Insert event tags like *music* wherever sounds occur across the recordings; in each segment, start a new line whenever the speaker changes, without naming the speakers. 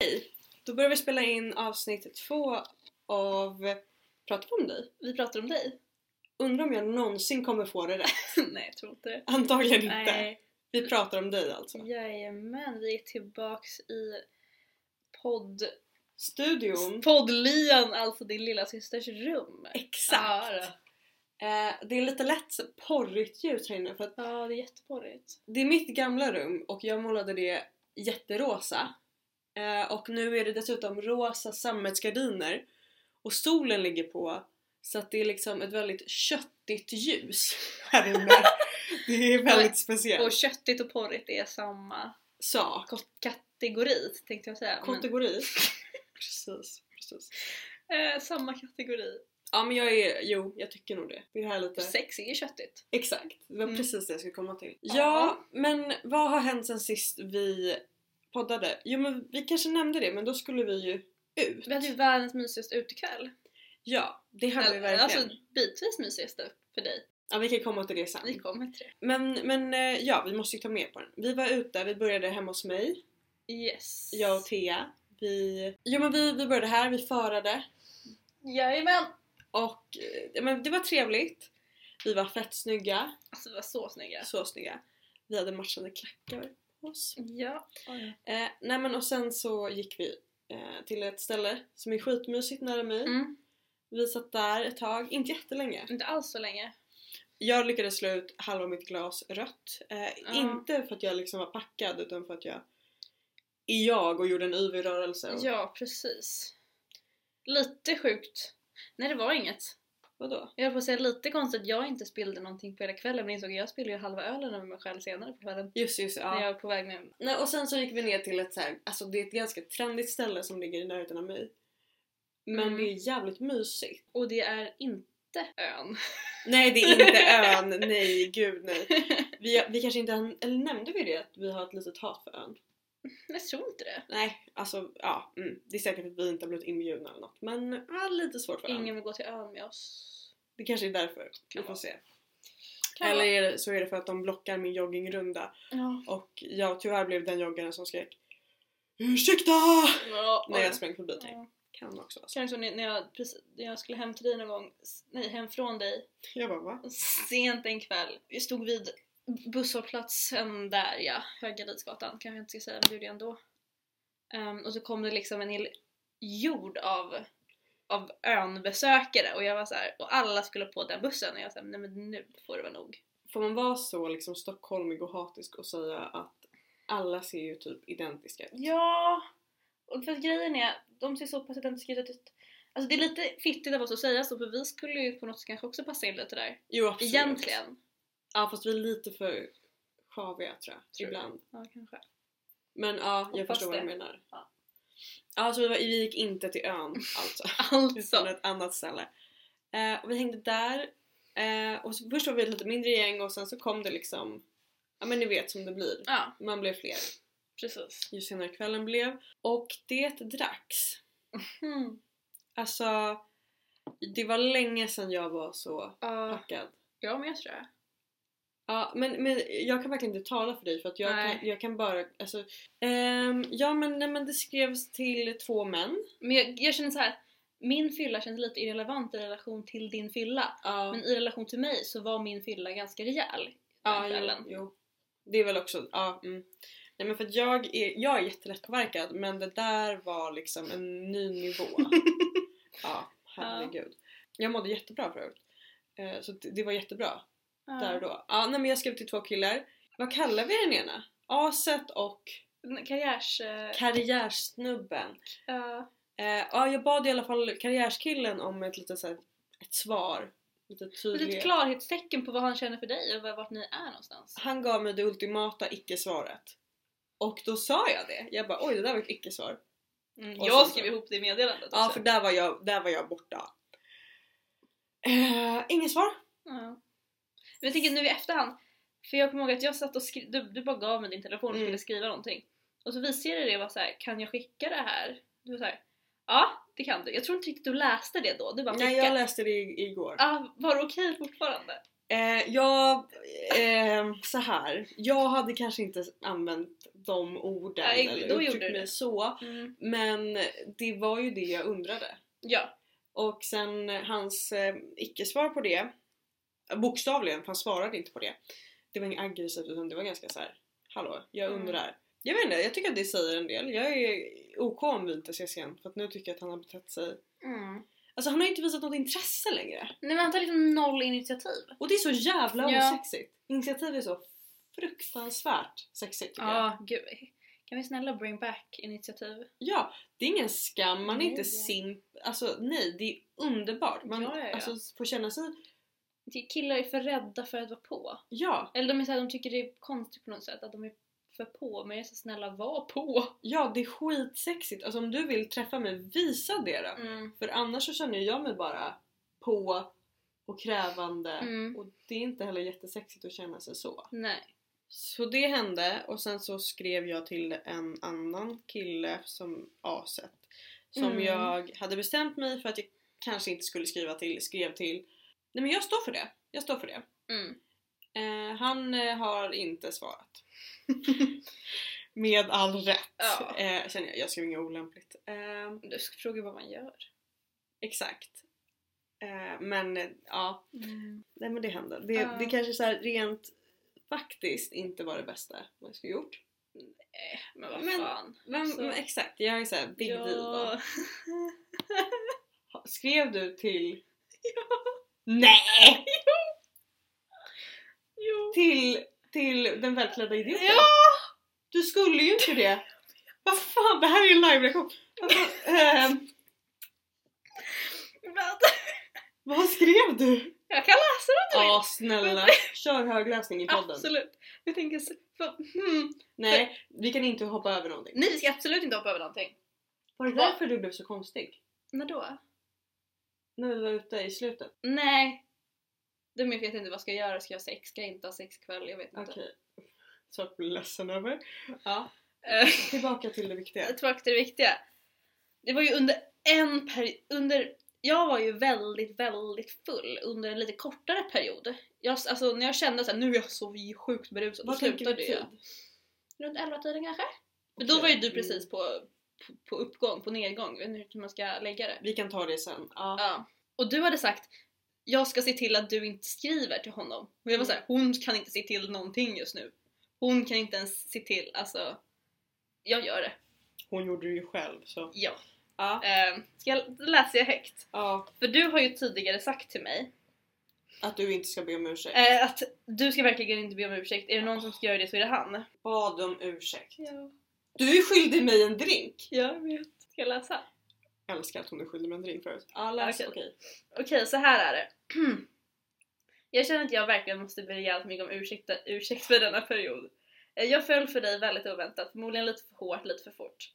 Hej! Då börjar vi spela in avsnitt två av Pratar vi om dig?
Vi pratar om dig.
Undrar om jag någonsin kommer få det rätt?
*laughs* Nej, jag tror inte det.
*laughs* Antagligen inte.
Nej,
Vi pratar om dig alltså.
jajamän. Vi är tillbaks i podd...
Studion.
poddlyan, alltså din lilla systers rum. Ja,
Exakt!
då.
Eh, det är lite lätt porrigt ljus här inne för att
ja det är jätteporrigt.
det är mitt gamla rum och jag målade det jätterosa. Eh, och nu är det dessutom rosa sammetsgardiner och solen ligger på så att det är liksom ett väldigt köttigt ljus här inne.
*laughs*
Det är väldigt speciellt.
Och köttigt och porrigt är samma
sak,
kategori tänkte jag säga. Men, *laughs*
kategori. precis, precis.
eh, samma kategori.
Ja men jag är, jo jag tycker nog det. Det här är lite...
Sex är ju köttigt.
Exakt, det var
Mm.
precis det jag skulle komma till.
Ja.
Ja, men vad har hänt sen sist vi poddade? Jo men vi kanske nämnde det men då skulle vi ju ut.
Vi hade ju världens mysigaste utekväll.
Ja, det hade vi verkligen.
Alltså bitvis mysigaste för dig.
Ja vi kan komma till det sen.
Vi kommer till det.
Men, men eh, ja, vi måste ju ta med på den. Vi var ute, vi började hemma hos mig,
Yes.
jag och Thea. Vi, jo men vi, vi började här, vi förade
Jajamän!
och eh, ja, men det var trevligt. Vi var fett snygga.
Alltså vi var så snygga.
Så snygga. Vi hade matchande klackar på oss.
Ja.
Eh, nej men och sen så gick vi eh, till ett ställe som är skitmysigt nära mig.
Mm.
Vi satt där ett tag, inte jättelänge.
Inte alls så länge.
Jag lyckades slå ut halva mitt glas rött. Eh,
Ja.
Inte för att jag liksom var packad utan för att jag är jag och gjorde en YV-rörelse. Och,
Ja, precis. Lite sjukt. Nej, det var inget.
Vadå?
Jag höll på att säga lite konstigt att jag inte spillde någonting på hela kvällen men insåg att jag spillde ju halva ölen över mig själv senare på kvällen.
Just just ja.
När jag var på väg med...
Nej, och sen så gick vi ner till ett så här, alltså det är ett ganska trendigt ställe som ligger i närheten av mig. Men
Mm.
det är jävligt mysigt.
Och det är inte ön. *laughs*
Nej det är inte ön, nej gud nej. Vi, vi kanske inte, eller nämnde vi det att vi har ett litet hat för ön?
Jag tror inte det.
Nej, alltså ja, mm, det är säkert att vi inte har blivit inbjudna eller något men ja, lite svårt för ön.
Ingen vill gå till ön med oss.
Det kanske är därför, vi
Kan
får
vara.
se.
Kan
eller
vara.
är det, så är det för att de blockar min joggingrunda
Ja.
och jag tyvärr blev den joggaren som skrek URSÄKTA!
ja.
När jag sprang förbi dig.
Ja.
Kan också vara så.
Kanske när när jag, precis, när jag skulle hem till dig någon gång, s- nej hem från dig
Jag bara va?
sent en kväll. Vi stod vid busshållplatsen där ja, Högalidsgatan kanske jag inte ska säga men det gjorde jag ändå. Ehm, och så kom det liksom en hel jord av, av önbesökare och jag var så här, och alla skulle på den bussen och jag sa nej men nu får det vara nog.
Får man vara så liksom stockholmig och hatisk och säga att alla ser ju typ identiska ut?
Ja, och för att grejen är, de ser så pass identiska ut att Alltså det är lite fittigt av oss att säga så för vi skulle ju på något sätt kanske också passa in lite där.
Jo absolut.
Egentligen.
Ja fast vi är lite för sjaviga tror jag,
Tror du?
ibland.
Ja kanske.
Men ja, jag
Hoppas
förstår vad du
det.
menar.
Ja.
Ja, så vi, var, vi gick inte till
*laughs*
ön alltså. Utan
Alltså.
ett annat ställe. Eh, och vi hängde där. Eh, och så, först var vi ett lite mindre gäng och sen så kom det liksom, ja men ni vet som det blir.
Ja,
Man blev fler
precis.
ju senare kvällen blev. Och det dracks.
Mm.
Alltså, det var länge sedan jag var så
Ja,
packad.
jag med tror jag.
Ja, men, men jag kan verkligen inte tala för dig för att jag,
Nej.
kan, jag kan bara... Alltså, ehm, ja men, nej, men det skrevs till två män.
Men jag, jag känner så här. min fylla känns lite irrelevant i relation till din fylla.
Ja.
Men i relation till mig så var min fylla ganska rejäl den
Ja,
kvällen.
jo, jo. Det är väl också, ja. Mm. Nej men för att jag är, jag är jättelättpåverkad men det där var liksom en ny nivå.
*laughs*
ja, herregud. Jag mådde jättebra förut. Eh, Så det det var jättebra
Ja.
där och då. Ja, nej men jag skrev till två killar. Vad kallar vi den ena? Aset och
N- Karriärs... eh,
karriärsnubben.
ja.
Eh, ja, jag bad i alla fall karriärskillen om ett litet så här, ett svar. Lite
Ett litet
tydligt.
typ klarhetstecken på vad han känner för dig och var- vart ni är någonstans.
Han gav mig det ultimata icke-svaret. Och då sa jag det. Jag bara oj det där var ett icke-svar.
Mm,
Och
jag
sen så-
skrev ihop det i meddelandet
Ja
också.
för där var jag, där var jag borta. Eh, inget svar.
Ja. Men jag tänker nu i efterhand, för jag kommer ihåg att jag satt och skrev, du, du bara gav mig din telefon och
Mm.
skulle skriva någonting. Och så visade jag det och var så här, kan jag skicka det här? Du var så här, ja det kan du. Jag tror inte riktigt du läste det då, du bara
Nej
skicka.
jag läste det i- igår.
Ah, var det okej fortfarande?
Eh, jag, eh, så här. Jag hade kanske inte använt de orden
Nej,
eller
då
uttryckt
gjorde du
mig
det.
så.
Mm.
Men det var ju det jag undrade.
Ja.
Och sen eh, hans eh, icke-svar på det, eh, bokstavligen för han svarade inte på det. Det var inget aggressivt utan det var ganska så här. hallå jag
Mm.
undrar. Jag vet inte, jag tycker att det säger en del. Jag är OK om vi inte ses igen för att nu tycker jag att han har betett sig... Alltså han har inte visat något intresse längre.
Mm. Nej men han tar liksom noll initiativ.
Och det är så jävla
Ja.
osexigt. Initiativ är så fruktansvärt sexigt tycker jag.
Ja, gud. Kan vi snälla bring back initiativ?
Ja, det är ingen skam, man är
Nej.
inte simp. Alltså nej, det är underbart. Man
Ja, ja, ja.
Alltså, får känna sig...
Killar är för rädda för att vara på.
Ja,
Eller de, är så här, de tycker det är konstigt på något sätt att de är för på. Men jag är så snälla, var på!
Ja, det är skitsexigt. Alltså om du vill träffa mig, visa det då.
Mm.
För annars så känner jag mig bara på och krävande.
Mm.
Och det är inte heller jättesexigt att känna sig så.
Nej.
Så det hände och sen så skrev jag till en annan kille som aset. Som
Mm.
jag hade bestämt mig för att jag kanske inte skulle skriva till, skrev till. Nej men jag står för det. Jag står för det.
Mm.
Eh, han eh, har inte svarat. *laughs* Med all rätt.
Ja.
Eh, känner jag, jag skrev inget olämpligt. Eh,
Du ska fråga vad man gör.
exakt. Eh, men eh, ja,
Mm.
nej men det hände. Det,
Ja.
det kanske så här rent faktiskt inte var det bästa man skulle gjort.
Eh, Men vad
Men-
fan.
Men,
Så.
men exakt, jag är såhär big
Alltså- Ja.
diva. Ha- Skrev du
*laughs*
till... Nej!
*laughs* Jo.
Till, till den välklädda idioten?
Ja!
Du skulle ju inte det! Vad fan, det här är ju en live-reaktion! Vad fan, ehm,
Vänta.
Vad skrev du?
Jag kan läsa det om du
Ja snälla, kör högläsning i
vill.
podden.
Absolut. Jag tänker så... för- Hmm.
Nej, vi kan inte hoppa över någonting.
Nej, vi ska absolut inte hoppa över någonting.
Var det därför du blev så konstig?
När då?
När vi var ute i slutet?
Nej. Du men jag vet inte vad ska jag göra, ska jag ha sex, ska jag inte ha sex ikväll, jag vet inte.
Okej. Så jag blir ledsen över. Ja.
*laughs* Eh,
Tillbaka till det viktiga.
Tillbaka till det viktiga. Det var ju under en period, under, jag var ju väldigt, väldigt full under en lite kortare period. Jag, alltså när jag kände såhär, nu är jag så sjukt berusad, då
Vad tänker du
slutade
tid?
jag. Runt 11 tiden kanske? För då
Okej,
var ju du
mm.
precis på, på, på uppgång, på nedgång, jag vet inte hur man ska lägga det.
Vi kan ta det sen. Ja.
Ja. Och du hade sagt jag ska se till att du inte skriver till honom. Och jag var såhär, hon kan inte se till någonting just nu. Hon kan inte ens se till, alltså. Jag gör det.
Hon gjorde det ju själv så.
Ja.
Ja.
Eh, ska jag läsa jag högt?
ja.
För du har ju tidigare sagt till mig
Att du inte ska be om ursäkt.
eh, att du ska verkligen inte be om ursäkt. Är det någon som ska göra det så är det han.
Bad om ursäkt.
Ja,
Du är skyldig mig en drink!
jag vet. Ska jag läsa?
Jag älskar att hon är skyldig mig en drink förut. Ja, läs.
Okej.
Okej.
Okej, så här är det. *clears throat* Jag känner att jag verkligen måste be rejält mycket om ursäkt, ursäkt för denna period. Eh, Jag föll för dig väldigt oväntat, förmodligen lite för hårt, lite för fort.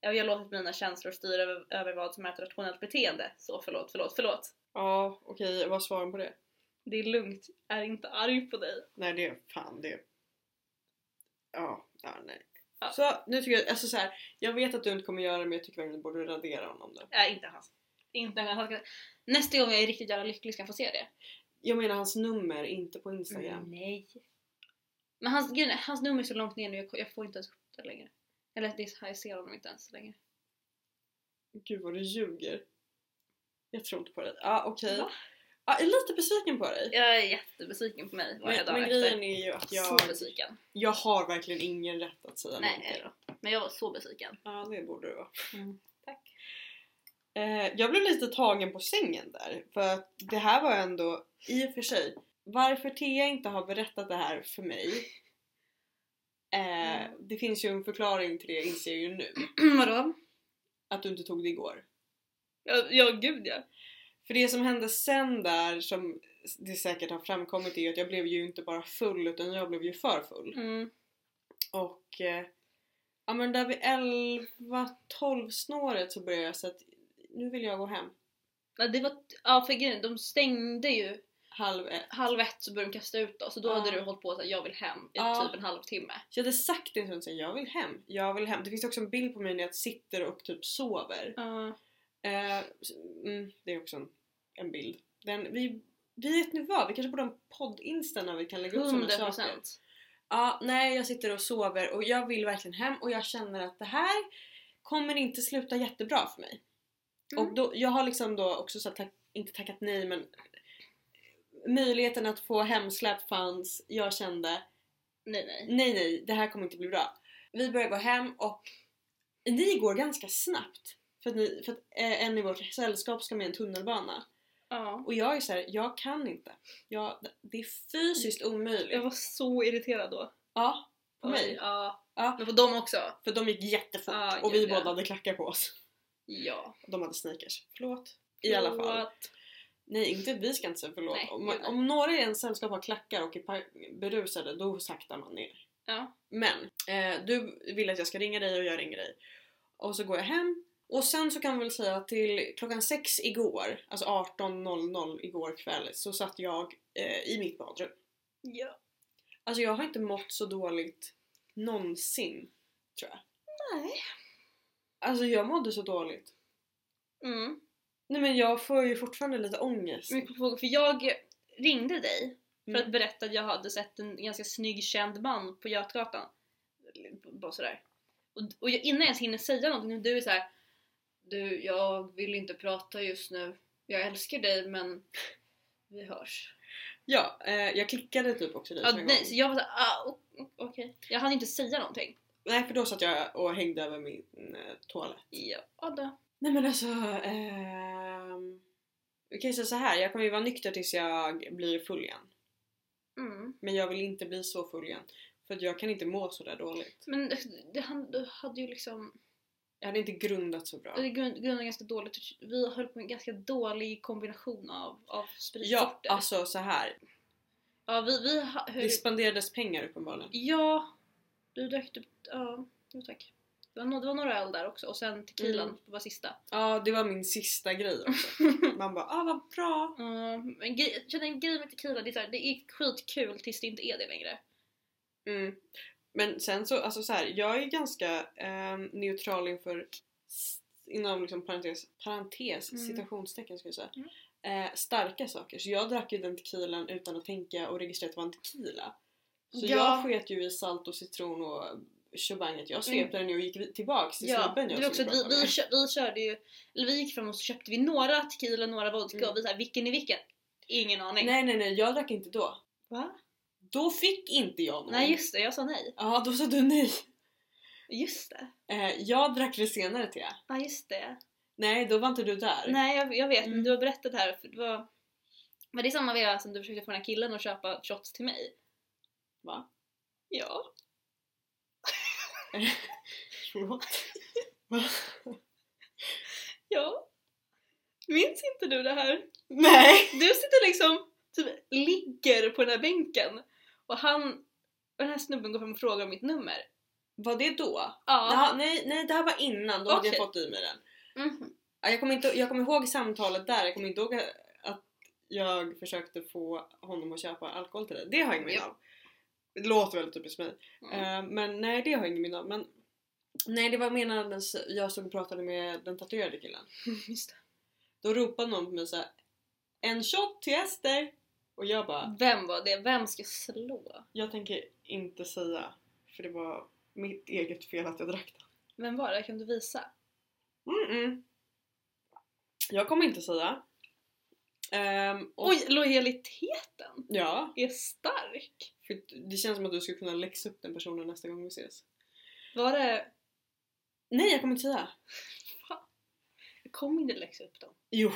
Eh, och Jag har låtit mina känslor styra över, över vad som är ett rationellt beteende. Så förlåt, förlåt, förlåt.
Ja, okej. Vad svarar hon på det?
Det är lugnt, är inte arg på dig.
Nej det är fan det. Ja, ja nej.
Ja.
Så nu tycker jag, alltså så här, jag vet att du inte kommer göra det men jag tycker verkligen du borde radera honom då.
Nej, Äh, inte han. Inte han. Han ska- Nästa gång jag är riktigt jävla lycklig ska han få se det.
Jag menar hans nummer, inte på instagram.
Nej. Men hans, grejen är, hans nummer är så långt ner nu, jag, jag får inte ens upp det längre. Eller det är så här, jag ser honom inte ens längre.
Gud vad du ljuger. Jag tror inte på dig. Ja okej.
Va?
Ja, jag är lite besviken på dig.
Jag är jättebesviken på mig varje
Men,
dag
men
efter.
grejen är ju att jag,
Så besviken.
jag har verkligen ingen rätt att säga
Nej,
någonting.
Men jag var så besviken.
Ja det borde du vara.
Tack.
Eh, jag blev lite tagen på sängen där. För att det här var ändå, i och för sig, varför Thea inte har berättat det här för mig. Eh,
Mm.
det finns ju en förklaring till det inser jag ju nu.
*clears throat* Vadå?
Att du inte tog det igår.
Ja, ja gud ja.
För det som hände sen där som det säkert har framkommit är ju att jag blev ju inte bara full utan jag blev ju för full.
Mm.
Och eh, ja men där vid 11-12 snåret så började jag så att nu vill jag gå hem.
Nej, det var, ja för grejen, de stängde ju
Halv ett.
halv ett så började de kasta ut oss och då
Ja.
hade du hållit på att jag vill hem i
Ja.
typ en halvtimme.
Så jag hade sagt det en stund sen, jag vill hem, jag vill hem. Det finns också en bild på mig när jag sitter och typ sover.
Ja.
Eh, s- mm, det är också en, en bild. Den, vi Vet ni vad? Vi kanske borde ha en podd-insta när vi kan lägga upp sådana
100%.
saker. Ja, nej jag sitter och sover och jag vill verkligen hem och jag känner att det här kommer inte sluta jättebra för mig.
Mm.
Och då, jag har liksom då också så här, tack, inte tackat nej men möjligheten att få hemsläpp fanns. Jag kände
Nej nej.
nej nej det här kommer inte bli bra. Vi börjar gå hem och ni går ganska snabbt för att, ni, för att eh, en i vårt sällskap ska med en tunnelbana.
Ja.
Och jag är så här, jag kan inte. Jag, det är fysiskt
Jag
omöjligt.
var så irriterad då.
Ja, på
Oj,
mig.
Ja.
Ja.
Men på dem också?
För de gick jättefort
Ah,
och vi
gud, ja.
båda hade klackar på oss.
Ja.
De hade sneakers. Förlåt. I alla fall.
Förlåt.
Nej, inte, vi ska inte säga förlåt.
Nej,
om,
gud, nej.
om några i ens sällskap har klackar och är pa- berusade, då saktar man ner.
Ja.
Men eh, du vill att jag ska ringa dig och jag ringer dig. Och så går jag hem. Och sen så kan vi väl säga att till klockan sex igår, alltså 18.00 igår kväll, så satt jag eh, i mitt badrum.
ja.
Alltså jag har inte mått så dåligt någonsin, tror jag.
Nej.
Alltså jag mådde så dåligt.
Mm.
Nej men jag får ju fortfarande lite ångest.
Mycket frågor. För jag ringde dig för
Mm.
att berätta att jag hade sett en ganska snygg känd man på Götgatan. Bara sådär. Och, och jag, innan jag ens hinner säga någonting, du är så här. Du, jag vill inte prata just nu. Jag älskar dig men vi hörs.
Ja, eh, jag klickade typ också dit
Ja,
en
nej,
gång.
så jag var såhär, ah, o- o- okej. Jag hann inte säga någonting.
Nej för då satt jag och hängde över min eh, toalett.
Ja, då.
Nej men alltså... ehm, Vi kan ju säga så här. jag kommer ju vara nykter tills jag blir full igen.
Mm.
Men jag vill inte bli så full igen. För att jag kan inte må så där dåligt.
Men det, han du hade ju liksom,
Jag hade inte grundat så bra.
det grund- grundade ganska dåligt, vi höll på en ganska dålig kombination av, av
Ja,
spritsorter. Ja,
alltså så här.
vi, vi ha- höll
Det spenderades pengar uppenbarligen.
Ja, du drack typ, ja, jo tack. Det var, nå- det var några öl där också och sen tequilan
Mm.
var sista.
Ja, det var min sista grej också.
*laughs*
Man bara ah vad bra.
Mm, men grej, jag känner en grej med tequila, det är, så här, det är skitkul tills det inte är det längre.
Mm. Men sen så, alltså så här, jag är ganska ehm, neutral inför s- inom liksom parentes, parentes
Mm.
citationstecken ska jag säga. Eh, starka saker. Så jag drack ju den tequilan utan att tänka och registrera att det var en tequila. Så
Ja.
jag sket ju i salt och citron och tjobanget. Jag svepte den ju och gick vi- tillbaks till
Mm. Ja,
snubben
det
jag
var också
skulle
att vi,
prata
vi,
med.
kö- vi körde ju, eller vi gick fram och så köpte vi några tequila och några vodka
Mm.
och vi såhär, vilken är vilken? Ingen aning.
Nej nej nej, jag drack inte då.
Va?
Då fick inte jag någon.
Nej just det, jag sa nej.
Ja, då sa du nej.
Just det.
Eh, jag drack det senare till jag.
Ja just det.
Nej, då var inte du där.
Nej jag, jag vet,
Mm.
men du har berättat det här för det var... Men det är samma veva som du försökte få den här killen att köpa shots till mig.
Va?
Ja.
Förlåt.
Ja. Minns inte du det här?
Nej!
Du sitter liksom, typ ligger på den här bänken och han, och den här snubben går fram och frågar om mitt nummer.
Var det då?
Ja.
Ja, Mm. nej, nej, det här var innan. Då hade jag
Okej.
fått i mig den.
Mhm.
Ja, Jag kommer, inte, jag kommer ihåg samtalet där. Jag kommer inte ihåg att jag försökte få honom att köpa alkohol till dig. Det har jag ingen minne
Ja.
av. Det låter väldigt typiskt mig.
Mm.
Eh, men nej, det har jag ingen minne av. Men, nej, det var medan jag stod och pratade med den tatuerade killen.
*laughs* Just det.
Då ropade någon på mig såhär En shot till Ester! Och jag bara
Vem var det? Vem ska slå?
Jag tänker inte säga för det var mitt eget fel att jag drack den.
Vem var det? Kan du visa?
Mm-mm. Jag kommer inte säga. Ehm, och,
Oj, lojaliteten
Ja,
är stark!
för det känns som att du skulle kunna läxa upp den personen nästa gång vi ses.
Var det...
Nej, jag kommer inte säga.
Jag kommer inte läxa upp dem.
Jo.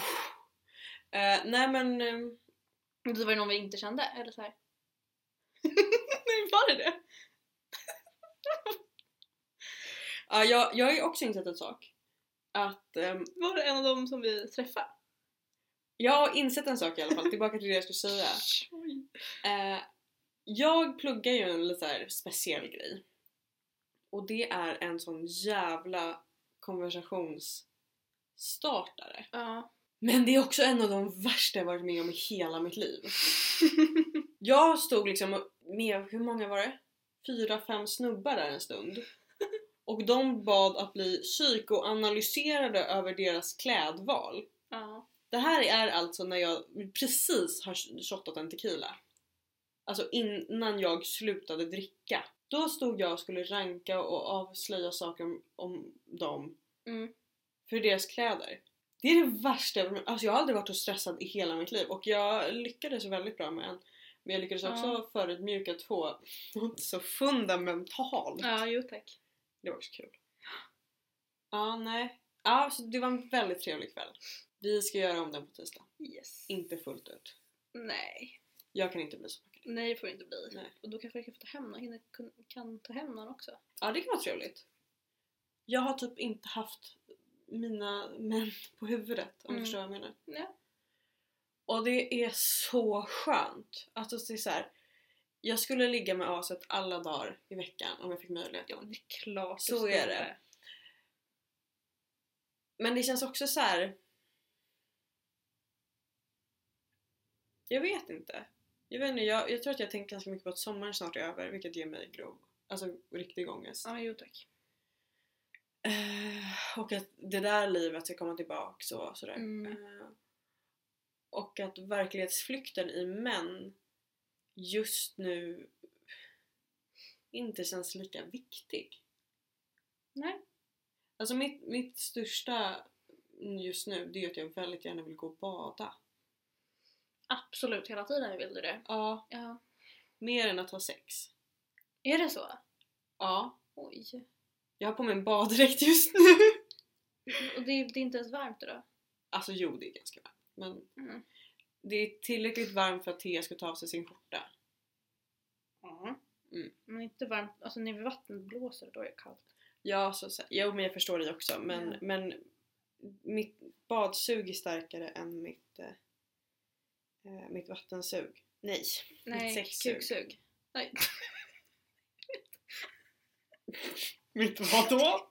Eh, nej men... ehm,
Men Det var ju någon vi inte kände, eller så här. *laughs* Nej, var det det?
ja, jag, jag är också insett en sak. Att... ehm,
Var det en av dem som vi träffade?
jag har insett en sak i alla fall, tillbaka till det jag skulle säga.
Oj.
Eh, jag pluggar ju en lite så här speciell grej. Och det är en sån jävla konversationsstartare.
Ja.
Men det är också en av de värsta jag varit med om i hela mitt liv. jag stod liksom och- med, hur många var det? Fyra, fem snubbar där en stund. Och de bad att bli psykoanalyserade över deras klädval.
Ja.
Det här är alltså när jag precis har shottat en tequila. Alltså innan jag slutade dricka. Då stod jag och skulle ranka och avslöja saker om, om dem
Mm.
för deras kläder. Det är det värsta jag- alltså jag har aldrig varit så stressad i hela mitt liv och jag lyckades väldigt bra med en. Men jag lyckades också
Ja.
förödmjuka två något så fundamentalt.
Ja, jo tack.
Det var också kul. Ja, nej. Ja, så det var en väldigt trevlig kväll. Vi ska göra om den på tisdag.
Yes.
Inte fullt ut.
Nej.
Jag kan inte bli så packad.
Nej, det får det inte bli.
Nej.
Och då kanske jag kan få ta hem någon, hinner, kun- kan ta hem någon också.
Ja, det kan vara trevligt. Jag har typ inte haft mina män *laughs* på huvudet om
Mm.
du förstår vad jag menar.
Ja.
Och det är så skönt. Alltså det är så här, jag skulle ligga med aset alla dagar i veckan om jag fick möjligheten.
det är klart. du
Så
ska
är
göra
det. Men det känns också så här. Jag vet inte. Jag, vet inte jag, jag tror att jag tänker ganska mycket på att sommaren snart är över vilket ger mig grov, alltså riktig ångest.
Ja, jo tack.
Eh, och att det där livet ska komma tillbaks och sådär.
Mm.
Eh, och att verklighetsflykten i män just nu inte känns lika viktig.
Nej.
Alltså mitt, mitt största just nu det är att jag väldigt gärna vill gå och bada.
Absolut, hela tiden vill du det.
Ja.
Ja.
Mer än att ha sex.
Är det så?
Ja.
Oj.
Jag har på mig en baddräkt just nu. *laughs*
Och det, är- det är inte ens varmt idag.
Alltså jo, det är ganska varmt. Men
Mm.
det är tillräckligt varmt för att Thea ska ta av sig sin skjorta. Mm.
Men inte varmt, alltså när vattnet blåser då är det kallt.
Ja, så, så, jo men jag förstår dig också men,
Ja.
men mitt badsug är starkare än mitt, eh, eh, mitt vattensug. Nej. Mitt
Nej,
sexsug.
kuksug. Nej.
Mitt *laughs* vadå?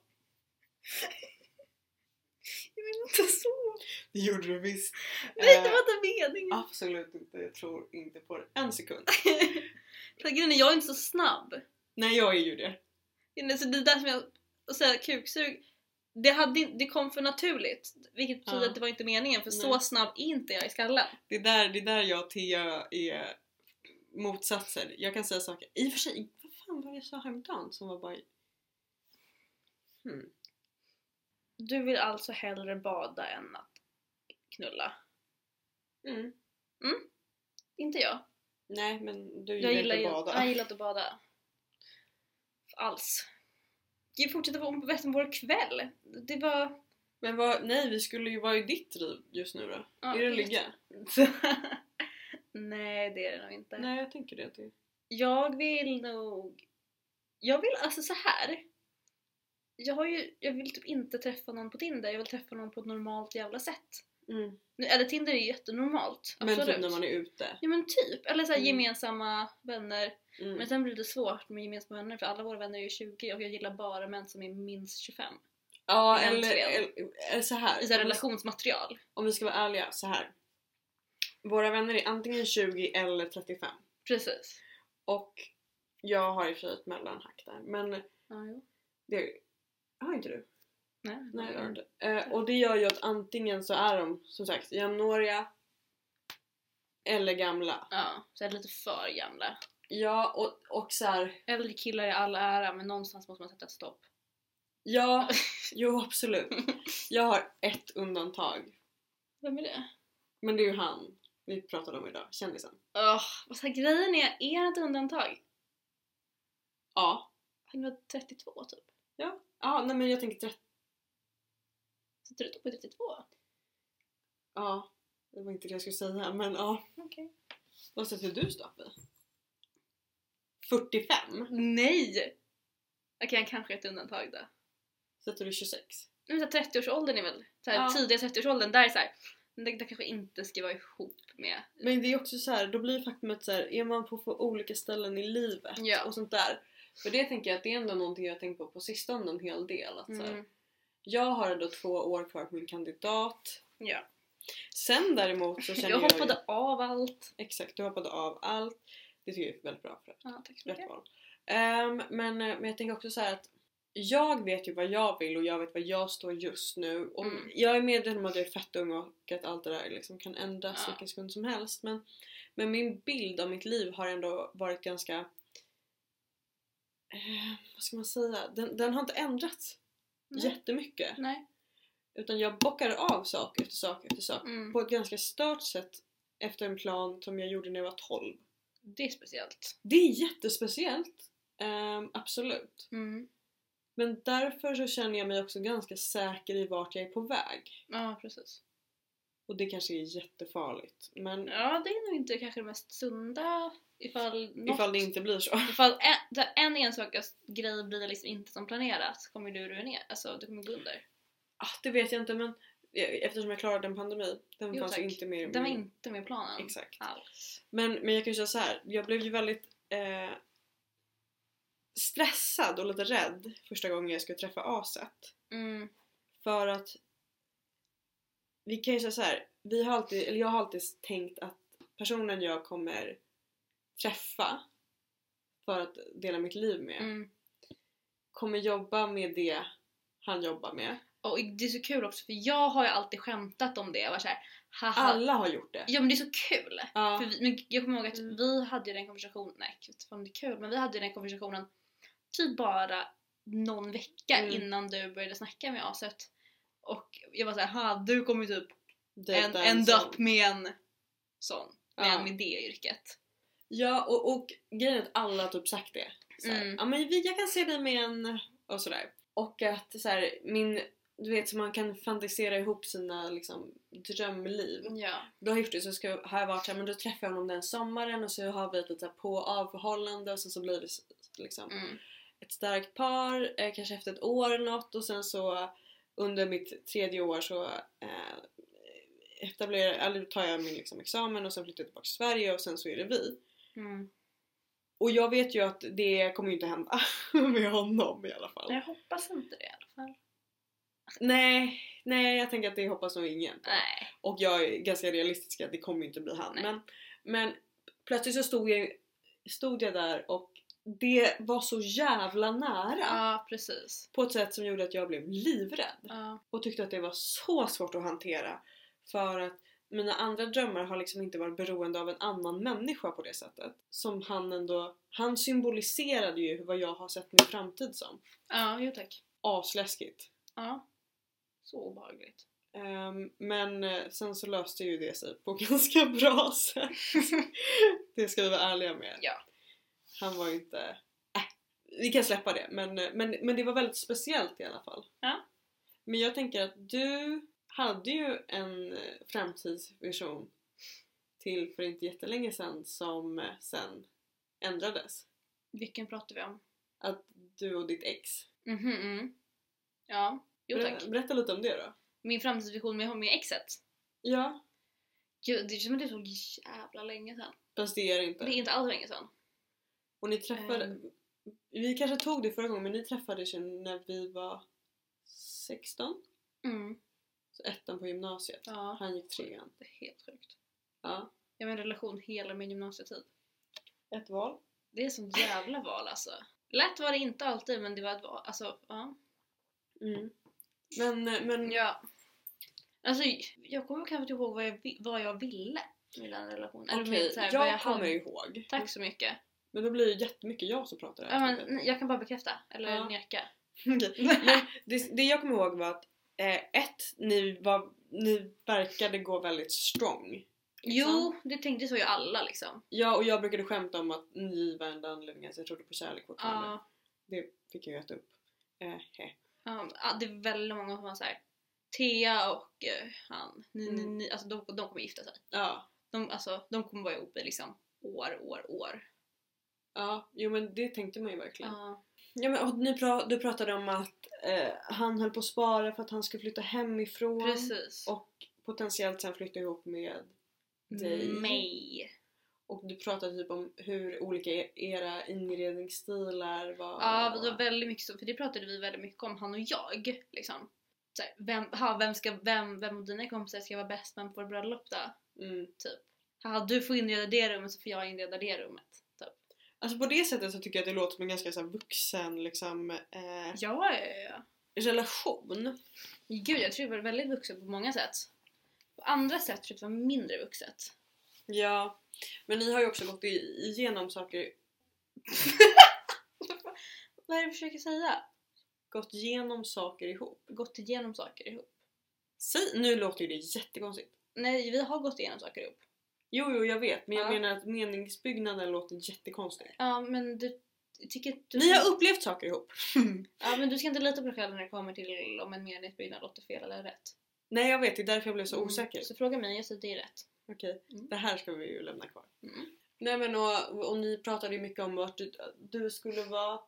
Jag vill inte så.
Det gjorde du visst.
Nej,
Eh,
*laughs* det var inte meningen.
Absolut inte, jag tror inte på det en sekund.
För grejen är, jag är inte så snabb.
Nej jag är ju det.
Det är- Så det är där som jag, att säga kuksug, det, hade, in- det kom för naturligt. Vilket betyder
Ja.
att det var inte meningen för så
Nej.
snabb är inte jag i skallen.
Det är där, det är där jag och Thea är motsatser. Jag kan säga saker, i och för sig, vad fan var det jag sa häromdagen som var bara... Hmm.
Du vill alltså hellre bada än att knulla?
Mm.
Inte jag.
Nej men du
Jag
gillar,
gillar, ju-
inte att bada.
jag gillar inte att bada. Alls. Vi fortsätter på resten av vår kväll. Det var...
Men vad, nej vi skulle ju vara i ditt liv just nu då.
Ja,
är det
jag
att
vet.
ligga?
*laughs* Nej, det är det nog inte.
Nej jag tänker det. det.
Jag vill nog... Jag vill alltså så här. Jag, har ju, jag vill typ inte träffa någon på Tinder, jag vill träffa någon på ett normalt jävla sätt. Nu- Eller Tinder är ju jättenormalt,
Men
Mm. absolut.
typ när man är ute.
Ja men typ, eller så här
Mm.
gemensamma vänner.
Mm.
Men sen blir det svårt med gemensamma vänner för alla våra vänner är ju 20 och jag gillar bara män som är minst 25.
ja eller,
egentligen.
eller, eller så här.
I så här
Om vi-
relationsmaterial.
Om vi ska vara ärliga så här. Våra vänner är antingen 20 eller 35.
Precis.
Och jag har i och för sig ett mellanhack där. Men
Ja, jo.
det har inte du.
Nej,
Nej, det har du inte.
Mm.
Eh, och det gör ju att antingen så är de som sagt jämnåriga eller gamla.
Ja, så jag är lite för gamla.
Ja och, och så här.
Äldre killar i all ära men någonstans måste man sätta ett stopp.
Ja, *laughs* jo absolut. Jag har ett undantag.
Vem är det?
Men det är ju han vi pratade om idag, kändisen.
Åh, och så här, grejen är, är han ett undantag?
Ja.
Han var 32 typ.
Ja, nej men jag tänker 30...
Sätter du ett stopp på 32?
Ja. Det var inte det jag skulle säga men ja.
Okej.
Vad sätter du stopp i? 45?
Nej! Okej, han kanske är ett undantag då.
Sätter du 26?
Men så här, 30-årsåldern är väl, så här,
Ja.
tidiga 30-årsåldern, där är så här, men det, det kanske inte ska vara ihop med.
Men det är också så här, då blir faktumet så här, är man på för olika ställen i livet
Ja.
och sånt där. För det tänker jag att det är ändå någonting jag har tänkt på på sistone en hel del. Att
alltså,
så
Mm.
här, jag har ändå två år kvar på min kandidat.
Ja.
Sen däremot
*laughs*
så känner
Jag
jag,
hoppade av allt.
Exakt, du hoppade av allt. Det tycker jag är väldigt bra för det.
Ja, tack så
Rätt
mycket.
val. Ehm, men, men jag eh, tänker också så här att jag vet ju vad jag vill och jag vet vad jag står just nu. Och
Mm.
Jag är medveten om att jag är fett ung och att allt det där liksom kan ändras
Ja.
vilken sekund som helst. Men, men min bild av mitt liv har ändå varit ganska... Eh, vad ska man säga? Den, den har inte ändrats
Nej.
jättemycket.
Nej.
Utan jag bockade av sak efter sak efter sak.
Mm.
På ett ganska stört sätt efter en plan som jag gjorde när jag var 12.
Det är speciellt.
Det är jättespeciellt. ehm, absolut.
Mm.
Men därför så känner jag mig också ganska säker i vart jag är på väg.
Ja, precis.
Och det kanske är jättefarligt. Men
Ja, det är nog inte kanske det mest sunda ifall något...
ifall det inte blir så. Ah,
Ifall en, där en enstaka grej blir liksom inte som planerat så kommer du ruinera, alltså du kommer gå under.
Ah, det vet jag inte men e-, eftersom jag klarade en pandemi. Den
Jo,
fanns ju
tack.
inte med i
Den var
min-
inte med i planen
Exakt.
alls.
Men, men jag kan ju säga så här. jag blev ju väldigt eh, stressad och lite rädd första gången jag skulle träffa Aset.
Mm.
För att vi kan ju säga så här. vi har alltid, eller jag har alltid tänkt att personen jag kommer träffa för att dela mitt liv med
Mm.
kommer jobba med det han jobbar med.
Och det är så kul också för jag har ju alltid skämtat om det och varit såhär haha.
Alla har gjort det.
Ja men det är så kul!
Ja.
För vi, men jag kommer ihåg att
Mm.
vi hade ju den konversationen, nej jag vet inte om det är kul, men vi hade ju den konversationen typ bara någon vecka
Mm.
innan du började snacka med aset. Och jag var såhär, ha du kommer ju typ en,
Dejta en
end
sån.
up med en sån, med
Ja.
en med det yrket.
Ja och, och grejen är att alla har typ sagt det. Såhär,
Mm.
Ja men vi, jag kan se dig med en och sådär. Och att såhär min, du vet så man kan fantisera ihop sina liksom drömliv.
Ja.
Då har jag gjort det så ska, har jag varit såhär men då träffar jag honom den sommaren och så har vi ett lite såhär på och avförhållande och sen så blir vi s- liksom
Mm.
ett starkt par, eh, kanske efter ett år eller något och sen så under mitt tredje år så eh, etablerar, eller tar jag min liksom, examen och sen flyttar jag tillbaka till Sverige och sen så är det vi.
Mm.
Och jag vet ju att det kommer ju inte hända *laughs* med honom i alla fall.
Jag hoppas inte det i alla fall.
Nej, nej jag tänker att det hoppas nog ingen på.
Nej.
Och jag är ganska realistisk att det kommer ju inte bli han.
Nej.
Men, men plötsligt så stod jag, stod jag där och det var så jävla nära.
Ja, precis.
På ett sätt som gjorde att jag blev livrädd.
Ja.
och tyckte att det var så svårt att hantera för att mina andra drömmar har liksom inte varit beroende av en annan människa på det sättet. Som han ändå... Han symboliserade ju vad jag har sett min framtid som.
Ja, jo tack.
Asläskigt.
Ja. Så obehagligt.
Ehm, men eh, sen så löste ju det sig på *laughs* ganska bra
*laughs*
sätt. det ska vi vara ärliga med.
Ja.
Han var ju inte... Äh, vi kan släppa det men, eh, men, men det var väldigt speciellt i alla fall.
Ja.
Men jag tänker att du hade ju en eh, framtidsvision till för inte jättelänge sedan som eh, sen ändrades.
Vilken pratar vi om?
Att du och ditt ex.
Mhm, mm. Ja, jo
Ber-
tack.
Berätta lite om det då.
Min framtidsvision med, med exet.
Ja,
Gud, det är som att det är så jävla länge sedan.
fast det är det inte.
Det är inte alls länge sedan.
Och ni träffade...
Ehm.
Vi kanske tog det förra gången men ni träffades ju när vi var 16?
Mm.
Så ettan på gymnasiet.
Ja.
Han gick trean.
Det är helt sjukt.
Ja.
Jag har en relation hela min gymnasietid.
Ett val.
Det är sånt jävla val alltså. Lätt var det inte alltid men det var ett val. Alltså, ja.
Mm. Men, men
Ja. Alltså, jag kommer kanske inte ihåg vad jag, vi- vad jag ville med den relationen. Eller
okej,
med, så här,
jag,
vad jag
kommer
hade.
ihåg.
Tack så mycket.
Men då blir det jättemycket jag som pratar
Ja, men,
avsnittet.
nej, jag kan bara bekräfta, eller
Ja.
neka.
*laughs* Okej. Men det, det jag kommer ihåg var att eh, ett, ni, var, ni verkade gå väldigt strong. *laughs*
Jo, det tänkte så ju alla liksom.
Ja, och jag brukade skämta om att ni var enda anledningen så jag trodde på kärlek fortfarande.
Ja,
Det fick jag ju äta upp. Eh, he.
ja, ja, det är väldigt många som var såhär, Thea och eh, han, ni, ni,
Mm.
ni, alltså de, de kommer gifta sig.
Ja.
De, alltså, de kommer vara ihop i liksom år, år, år.
ja, jo men det tänkte man ju verkligen.
Ja.
Ja, men, och ni pra- du pratade om att eh, han höll på att spara för att han skulle flytta hemifrån.
Precis.
Och potentiellt sen flytta ihop med dig.
Mig.
Och du pratade typ om hur olika e- era inredningsstilar var.
Ja, vi var väldigt mycket så, för det pratade vi väldigt mycket om, han och jag. Liksom. Så här, vem, ha, vem, ska, vem, vem av dina kompisar ska vara bäst man på vårt bröllop då?
mm.
Typ. Haha, du får inreda det rummet så får jag inreda det rummet. Typ.
Alltså på det sättet så tycker jag att det låter som en ganska så här vuxen liksom, eh,
Ja, ja, ja.
relation.
Gud, jag tror det var väldigt vuxet på många sätt. På andra sätt tror jag att det var mindre vuxet.
Ja. Men ni har ju också gått i- igenom saker,
Vad är det du försöker säga?
gått igenom saker ihop.
Gått igenom saker ihop.
Säg, nu låter ju det jättekonstigt.
Nej, vi har gått igenom saker ihop.
Jo, jo, jag vet. Men jag
Ja.
menar att meningsbyggnaden låter jättekonstig.
Ja, men du tycker att du...
Ni har upplevt saker ihop.
Ja, men du ska inte lita på dig själv när det kommer till om en meningsbyggnad låter fel eller rätt.
Nej, jag vet. Det är därför jag blev så
Mm,
osäker.
Så fråga mig, jag säger det är rätt.
Okej,
Mm.
det här ska vi ju lämna kvar.
Mm.
Nej men och, och ni pratade ju mycket om att du, du skulle vara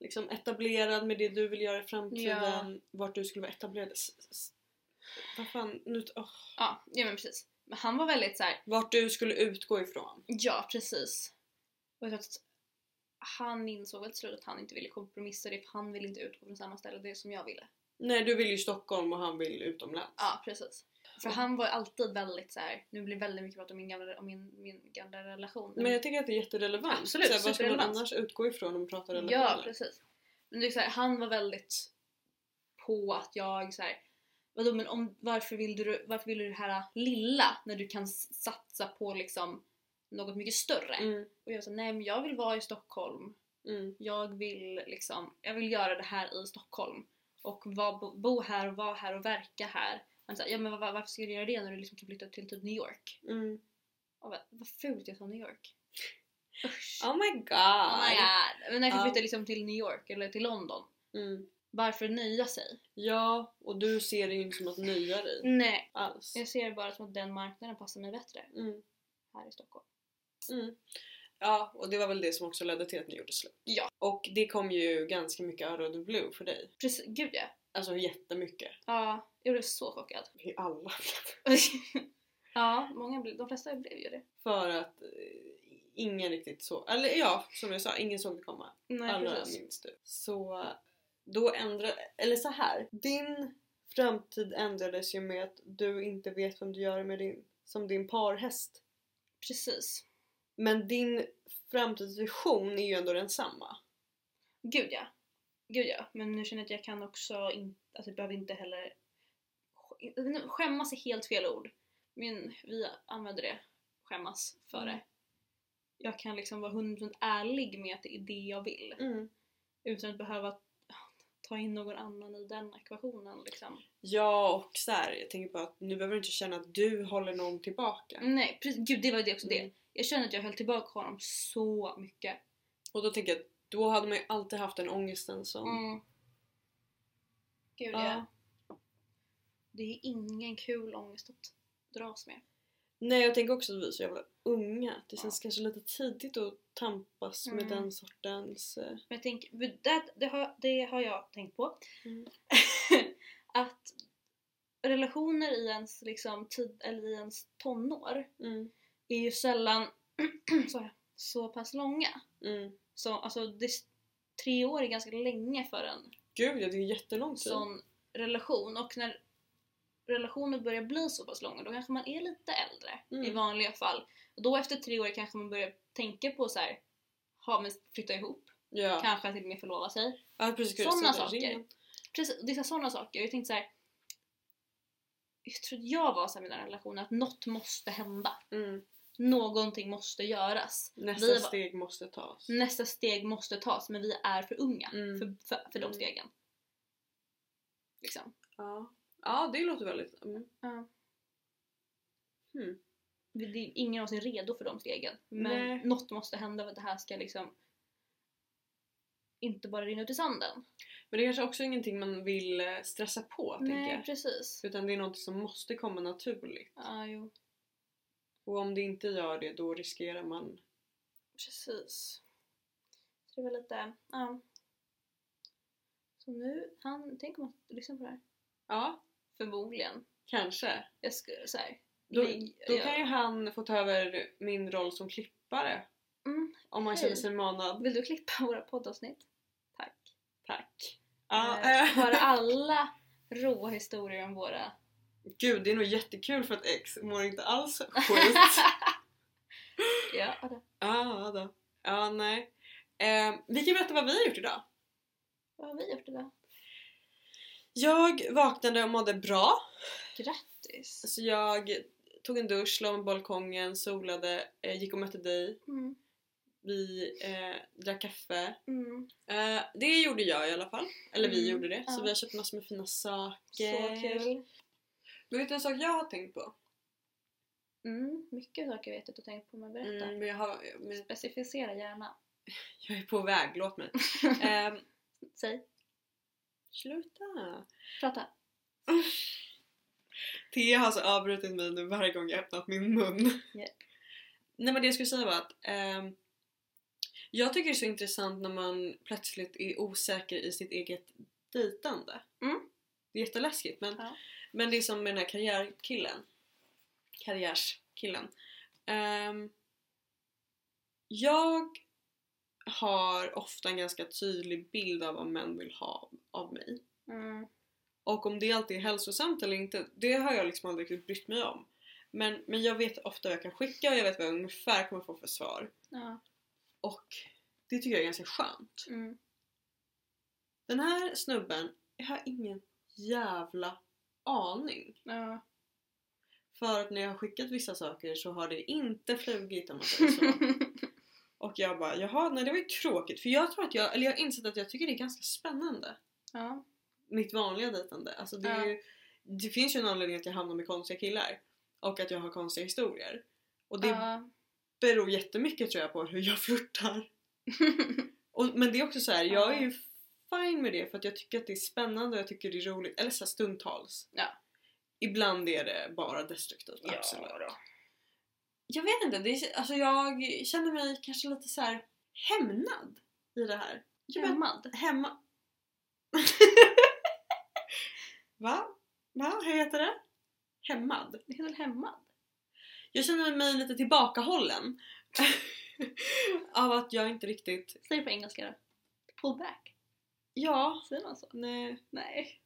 liksom etablerad med det du vill göra i framtiden. Vart du skulle vara etablerad. S- s- Vad fan, nu, åh.
Ja, ja men precis. Men han var väldigt så här.
Vart du skulle utgå ifrån.
Ja, precis. Och jag tror att han insåg väl till slut att han inte ville kompromissa det för han ville inte utgå från samma ställe det som jag ville.
Nej du vill ju Stockholm och han vill utomlands.
Ja, precis. För han var ju alltid väldigt så här. nu blir det väldigt mycket prat om min gamla, om min, min gamla relation.
Men jag tycker att det är jätterelevant.
Absolut,
Så här, vad ska man
superrelevant.
annars utgå ifrån om man pratar relationer?
Ja, precis. Men det är så här, han var väldigt på att jag så här. Vadå, men om, varför, vill du, varför vill du det här lilla när du kan s- satsa på liksom något mycket större?
Mm,
Och jag sa nej men jag vill vara i Stockholm
mm,
jag vill liksom, jag vill göra det här i Stockholm och va, bo, bo här och vara här och verka här. Han sa, ja men va- va- varför ska du göra det när du liksom kan flytta till typ New York?
mm.
Och va, vad fult jag sa New York. Usch.
Oh my god!
Oh my god. Men när jag kan
Ja.
flytta liksom till New York eller till London,
Mm.
varför nöja sig?
Ja, och du ser det ju inte som att nöja dig
Nej.
alls.
Jag ser det bara som att den marknaden passar mig bättre
Mm.
här i Stockholm.
Mm. Ja, och det var väl det som också ledde till att ni gjorde slut.
Ja.
Och det kom ju ganska mycket out of the blue för dig.
Precis, gud ja.
Alltså jättemycket.
Ja, jag blev så chockad. *laughs*
I alla. *laughs*
ja, många blev, de flesta blev ju det.
För att eh, ingen riktigt såg, eller ja, som jag sa, ingen såg det komma.
Nej,
Alla
precis.
minns du. Så då ändrade, eller så här. Din framtid ändrades ju med att du inte vet vad du gör med din, som din parhäst.
Precis.
Men din framtidsvision är ju ändå densamma.
Gud ja. Gud ja. Men nu känner jag att jag kan också inte, alltså jag behöver inte heller sk- skämmas är helt fel ord. Men vi använder det, skämmas, för det.
Mm.
Jag kan liksom vara 100% ärlig med att det är det jag vill.
Mm.
Utan att behöva ta in någon annan i den ekvationen liksom.
Ja och så här, jag tänker på att nu behöver du inte känna att du håller någon tillbaka.
Nej, precis, gud det var ju det också
Mm.
det. Jag känner att jag höll tillbaka honom så mycket.
Och då tänker jag att då hade man ju alltid haft den ångesten som...
Mm. Gud ja.
Ja.
Det är ingen kul ångest att dras med.
Nej jag tänker också att vi är så jävla unga. Det
Ja.
känns kanske lite tidigt att tampas med
Mm.
den sortens... eh,
Men jag tänker, det, det, har, det har jag tänkt på.
Mm.
*laughs* att relationer i ens, liksom, tid, eller i ens tonår
Mm,
är ju sällan *clears throat* så, så pass långa.
mm.
Så, alltså, det, tre år är ganska länge för en
Gud ja, det är jättelång tid.
sån relation och när relationen börjar bli så pass långa då kanske man är lite äldre
Mm.
i vanliga fall. Och då efter tre år kanske man börjar tänka på så här, ha men flytta ihop,
Ja.
kanske till och med förlova sig.
ja precis, skulle jag
Såna
säga,
saker.
ringen.
Precis, det är sådana saker. Jag tänkte så här. Jag tror att jag var så här med den här relationen att något måste hända.
Mm.
Någonting måste göras.
Nästa
Vi var-
steg måste tas.
Nästa steg måste tas men vi är för unga
Mm.
för, för, för
Mm.
de stegen. Liksom.
Ja. ja det låter väldigt... Mm.
Ja.
Hmm.
Det det är ingen av oss är redo för de stegen. Men
Nej.
något måste hända för att det här ska liksom inte bara rinna ut i sanden.
Men det är kanske också ingenting man vill eh, stressa på tänker
Nej
jag.
precis.
Utan det är något som måste komma naturligt.
Ja, jo.
Och om det inte gör det då riskerar man...
Precis. Så det var lite, ja. Så nu, han, tänk om han lyssnar på det här.
Ja,
Förmodligen.
kanske.
Jag skulle såhär.
Då,
Nej,
då
jag-
kan ju han få ta över min roll som klippare.
Mm.
Om han
Hej.
känner sig manad.
Vill du klippa våra poddavsnitt? Tack.
Tack. Ja,
Eh,
eh,
Höra alla råa historier om våra...
*laughs* Gud, det är nog jättekul för att
*laughs*
ex mår inte alls skit.
ja, det.
ah, då. Ja, nej. Eh, vi kan berätta vad vi har gjort idag.
Vad har vi gjort idag?
Jag vaknade och mådde bra.
Grattis!
Så jag tog en dusch, la mig på balkongen, solade, eh, gick och mötte dig.
Mm.
Vi eh, drack kaffe.
Mm.
Eh, det gjorde jag i alla fall. Eller vi
Mm,
gjorde det. Så
ja.
vi har köpt massor med fina saker.
Så kul!
Men vet du en sak jag har tänkt på?
Mm. Mycket saker vet jag att du tänkt på, men berätta.
Mm, men jag, har, men
Specificera gärna.
jag är på väg, låt
*laughs*
mig. eh,
Säg,
sluta!
prata!
Thea har alltså avbrutit mig nu varje gång jag öppnat min mun.
Japp.
Nej men det jag skulle säga var att ehm, jag tycker det är så intressant när man plötsligt är osäker i sitt eget dejtande.
Mm.
Det är jätteläskigt men,
Ja.
men det är som med den här karriärkillen. Karriärskillen. Ehm, jag har ofta en ganska tydlig bild av vad män vill ha av mig.
Mm.
Och om det alltid är hälsosamt eller inte, det har jag liksom aldrig riktigt brytt mig om. Men, men jag vet ofta vad jag kan skicka och jag vet vad jag ungefär kommer få för svar.
Ja.
Och det tycker jag är ganska skönt.
Mm.
Den här snubben, jag har ingen jävla aning.
Ja.
För att när jag har skickat vissa saker så har det inte flugit om man säger
*laughs*
så. Och jag bara, jaha, nej det var ju tråkigt. För jag tror att jag, eller jag har insett att jag tycker det är ganska spännande.
ja.
mitt vanliga dejtande. Alltså det, är
Ja.
ju, det finns ju en anledning att jag hamnar med konstiga killar och att jag har konstiga historier. Och det
Ja.
beror jättemycket tror jag på hur jag *laughs* flörtar.
*laughs* Typ
Och, men det är också så här, jag är ju fine med det för att jag tycker att det är spännande och jag tycker det är roligt. Eller så här stundtals.
Ja.
Ibland är det bara destruktivt,
Ja
absolut. Jag vet inte, det är, alltså jag känner mig kanske lite så här hämnad i det här. Jag vet
Hämmad?
Hemma...
*laughs*
Va? Va? Hur heter det? Hämmad?
Det heter väl hämmad?
Jag känner mig lite
*laughs*
tillbakahållen av att jag inte riktigt...
Säg det på engelska då. Pull back?
Ja,
Säger man så?
nej.
Nej.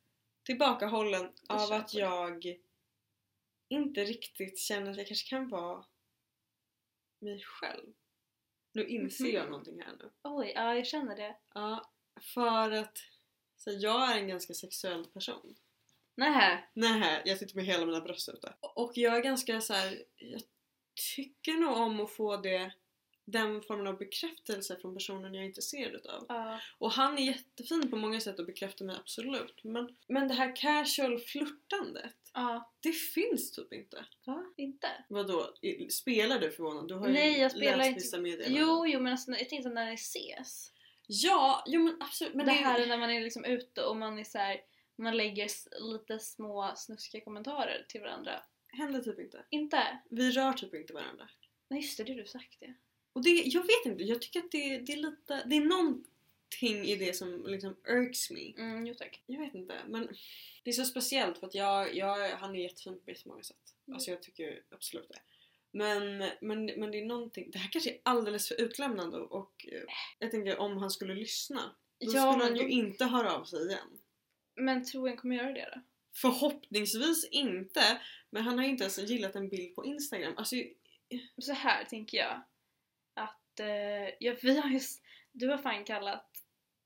Tillbakahållen
Jag
av att
köper det.
jag inte riktigt känner att jag kanske kan vara mig själv. Nu inser jag
Mhm.
någonting här nu.
Oj, ja jag känner det.
Ja, för att så jag är en ganska sexuell person.
Nej.
Nej, jag sitter med hela mina bröst ute. Och jag är ganska så här. jag tycker nog om att få det, den formen av bekräftelse från personen jag är intresserad utav.
Ja.
Och han är jättefin på många sätt och bekräftar mig absolut. Men, men det här casual flörtandet,
Ja.
det finns typ inte.
Va? Inte?
Vadå, i- spelar du förvånad? Du har
Nej,
ju
jag spelar
läst
inte.
vissa meddelanden.
Jo, jo men alltså, jag tänkte när ni ses.
Ja, jo men absolut. Men
Men det här är när man är liksom ute och man är så här, man lägger s- lite små snuskiga kommentarer till varandra.
händer typ inte.
Inte?
Vi rör typ inte varandra.
Nej just det, det har du sagt det.
Och det, jag vet inte, jag tycker att det, det är lite, det är någonting i det som liksom irks me.
Mm, jo tack.
Jag vet inte, men det är så speciellt för att jag, jag han är jättefin på jättemånga sätt.
Mm.
Alltså jag tycker absolut det. Men, men, men det är någonting, det här kanske är alldeles för utlämnande och eh, jag tänker om han skulle lyssna då
Ja,
skulle
men,
han ju
då,
inte höra av sig igen.
men tror jag kommer göra det då?
Förhoppningsvis inte, men han har inte ens gillat en bild på Instagram. Alltså,
så här tänker jag. Att eh, ja, vi har just, du har fan kallat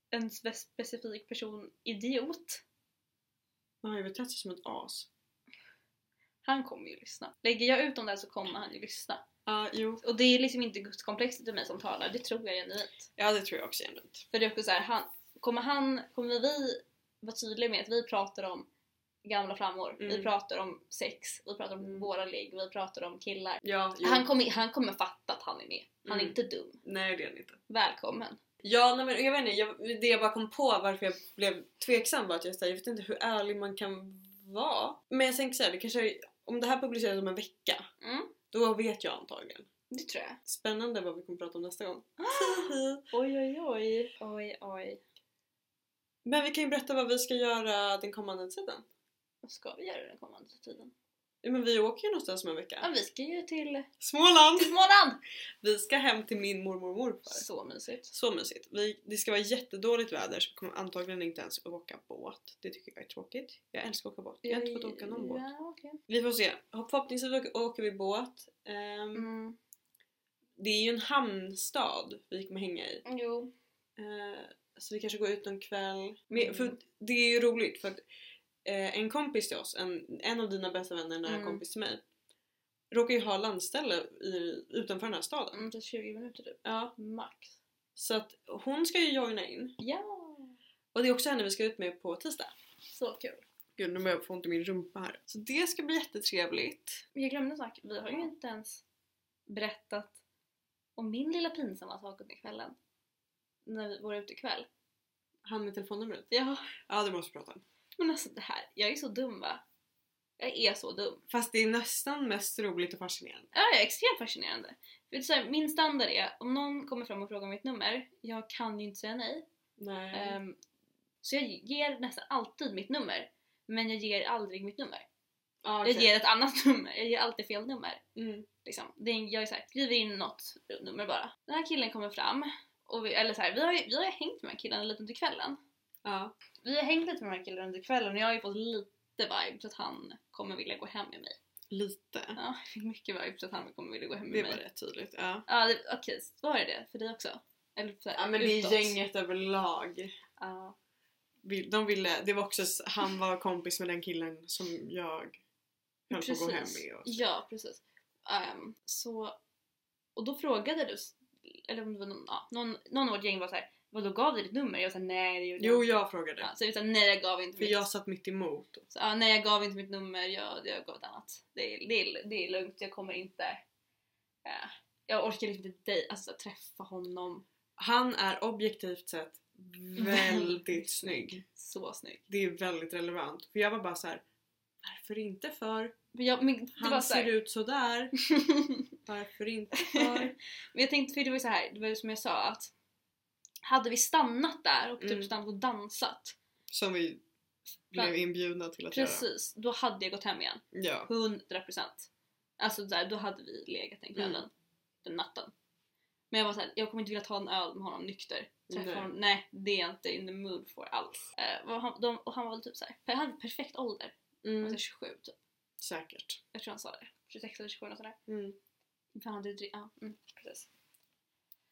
en spe- specifik person idiot.
man har ju betett sig som ett as.
Han kommer ju lyssna. Lägger jag ut om det här så kommer han ju lyssna.
Ja, jo.
Och det är liksom inte gudskomplexet i mig som talar, det tror jag genuint.
Ja, det tror jag också är genuint.
För det är också så här, han, kommer, han, kommer vi vara tydliga med att vi pratar om gamla flammor, vi
Mm.
pratar om sex, vi pratar om
Mm.
våra ligg, vi pratar om killar.
Ja, jo.
Han kommer, han kommer fatta att han är med. Han är
Mm.
inte dum.
Nej det är den inte.
Välkommen.
Ja nej, men jag vet inte, jag, det jag bara kom på varför jag blev tveksam var att jag, så här, jag vet inte hur ärlig man kan vara. Men jag tänker såhär, det kanske, om det här publiceras om en vecka,
Mm,
då vet jag antagligen.
det tror jag.
Spännande vad vi kommer prata om nästa
*gasps*
gång.
Oj oj oj. Oj oj.
men vi kan ju berätta vad vi ska göra den kommande tiden.
Vad ska vi göra den kommande tiden?
Ja, Men vi åker ju någonstans om en
Ja,
vecka.
vi ska ju till,
Småland!
till Småland!
Vi ska hem till min mormor och morfar.
Så mysigt.
Så mysigt. Vi, det ska vara jättedåligt väder så vi kommer antagligen inte ens åka båt. Det tycker jag är tråkigt. Jag älskar att åka båt. Jag har inte fått åka någon båt.
Ja, okej.
Vi får se. Förhoppningsvis åker vi båt. Ehm,
Mm.
det är ju en hamnstad vi kommer hänga i.
Jo.
Eh, så vi kanske går ut någon kväll. Men,
Mm.
för det är ju roligt för att eh, en kompis till oss, en, en av dina bästa vänner, en nära
Mm.
kompis till mig, råkar ju ha landställe i, utanför den här staden.
Om inte 20 minuter typ.
Ja,
Max.
så att hon ska ju joina in.
Ja!
Och det är också henne vi ska ut med på tisdag.
Så kul.
Gud, nu börjar jag få ont i min rumpa här. Så det ska bli jättetrevligt.
Men Jag glömde en sak. Vi har ju inte ens berättat om min lilla pinsamma sak under kvällen. När vi var ute ikväll.
Han med telefonnumret.
Ja.
Ja, det måste vi prata om.
Men alltså det här. Jag är så dum va? Jag är så dum.
Fast det är nästan mest roligt och fascinerande.
Ja, jag är extremt fascinerande. För det är så här, min standard är om någon kommer fram och frågar mitt nummer. Jag kan ju inte säga nej.
Nej.
Ehm, så jag ger nästan alltid mitt nummer. Men jag ger aldrig mitt nummer.
ja,
Jag ger ett annat *laughs* nummer. Jag ger alltid fel nummer.
Mm.
Liksom. Det är, en- jag är så här, skriver in något nummer bara. Den här killen kommer fram. Och vi, eller så här, vi, har, ju- vi har ju hängt med den här killen lite under kvällen.
Ja.
Vi har hängt lite med den här killen under kvällen och jag har ju fått lite vibes att han kommer vilja gå hem med mig.
Lite.
Ja, jag fick mycket vibes att han kommer vilja gå hem med
Det
mig.
var rätt tydligt. Ja.
Ja, det, okej, var det det för dig också? Eller så här,
Ja men det
utåt.
är gänget överlag.
Ja.
Vill- De ville, det var också, s- han var kompis med den killen som jag höll på att gå hem med. Och,
Ja, precis. Ehm, så, och då frågade du, s- eller om det var någon, ja, någon, någon av vårt gäng var såhär Vadå gav du ditt nummer? Jag sa nej det gjorde
jo
jag inte.
jag frågade.
Ja, så jag sa nej jag gav inte
För
mitt,
jag satt mitt emot.
så, ja, nej, jag gav inte mitt nummer, jag, jag gav ett annat. Det är, det, är, det är lugnt, jag kommer inte... eh, jag orkar liksom inte dej, alltså, träffa honom.
Han är objektivt sett
*laughs*
väldigt snygg.
Så snygg.
Det är väldigt relevant. För jag var bara så här. Varför inte för?
Men jag, men det var
Han
så
ser
här,
ut sådär.
*laughs*
Varför inte för?
Men jag tänkte, för det var ju så här, det var ju som jag sa att hade vi stannat där och typ
Mm.
stannat och dansat,
Som vi blev inbjudna till att
precis, då hade jag gått hem igen.
göra. Ja.
100%. Alltså där, då hade vi legat den kvällen,
Mm.
den natten. Men jag var såhär, jag kommer inte vilja ta en öl med honom nykter.
Nej.
Träffa nej. honom, nej det är jag inte in the mood for alls. Eh, vad han, de, och han var väl typ såhär, han hade perfekt ålder, han var
Mm.
så 27 typ.
Säkert.
Jag tror han sa det, 26 eller 27 eller sådär.
Mm.
Men han hade ju dri- ja, mm, precis.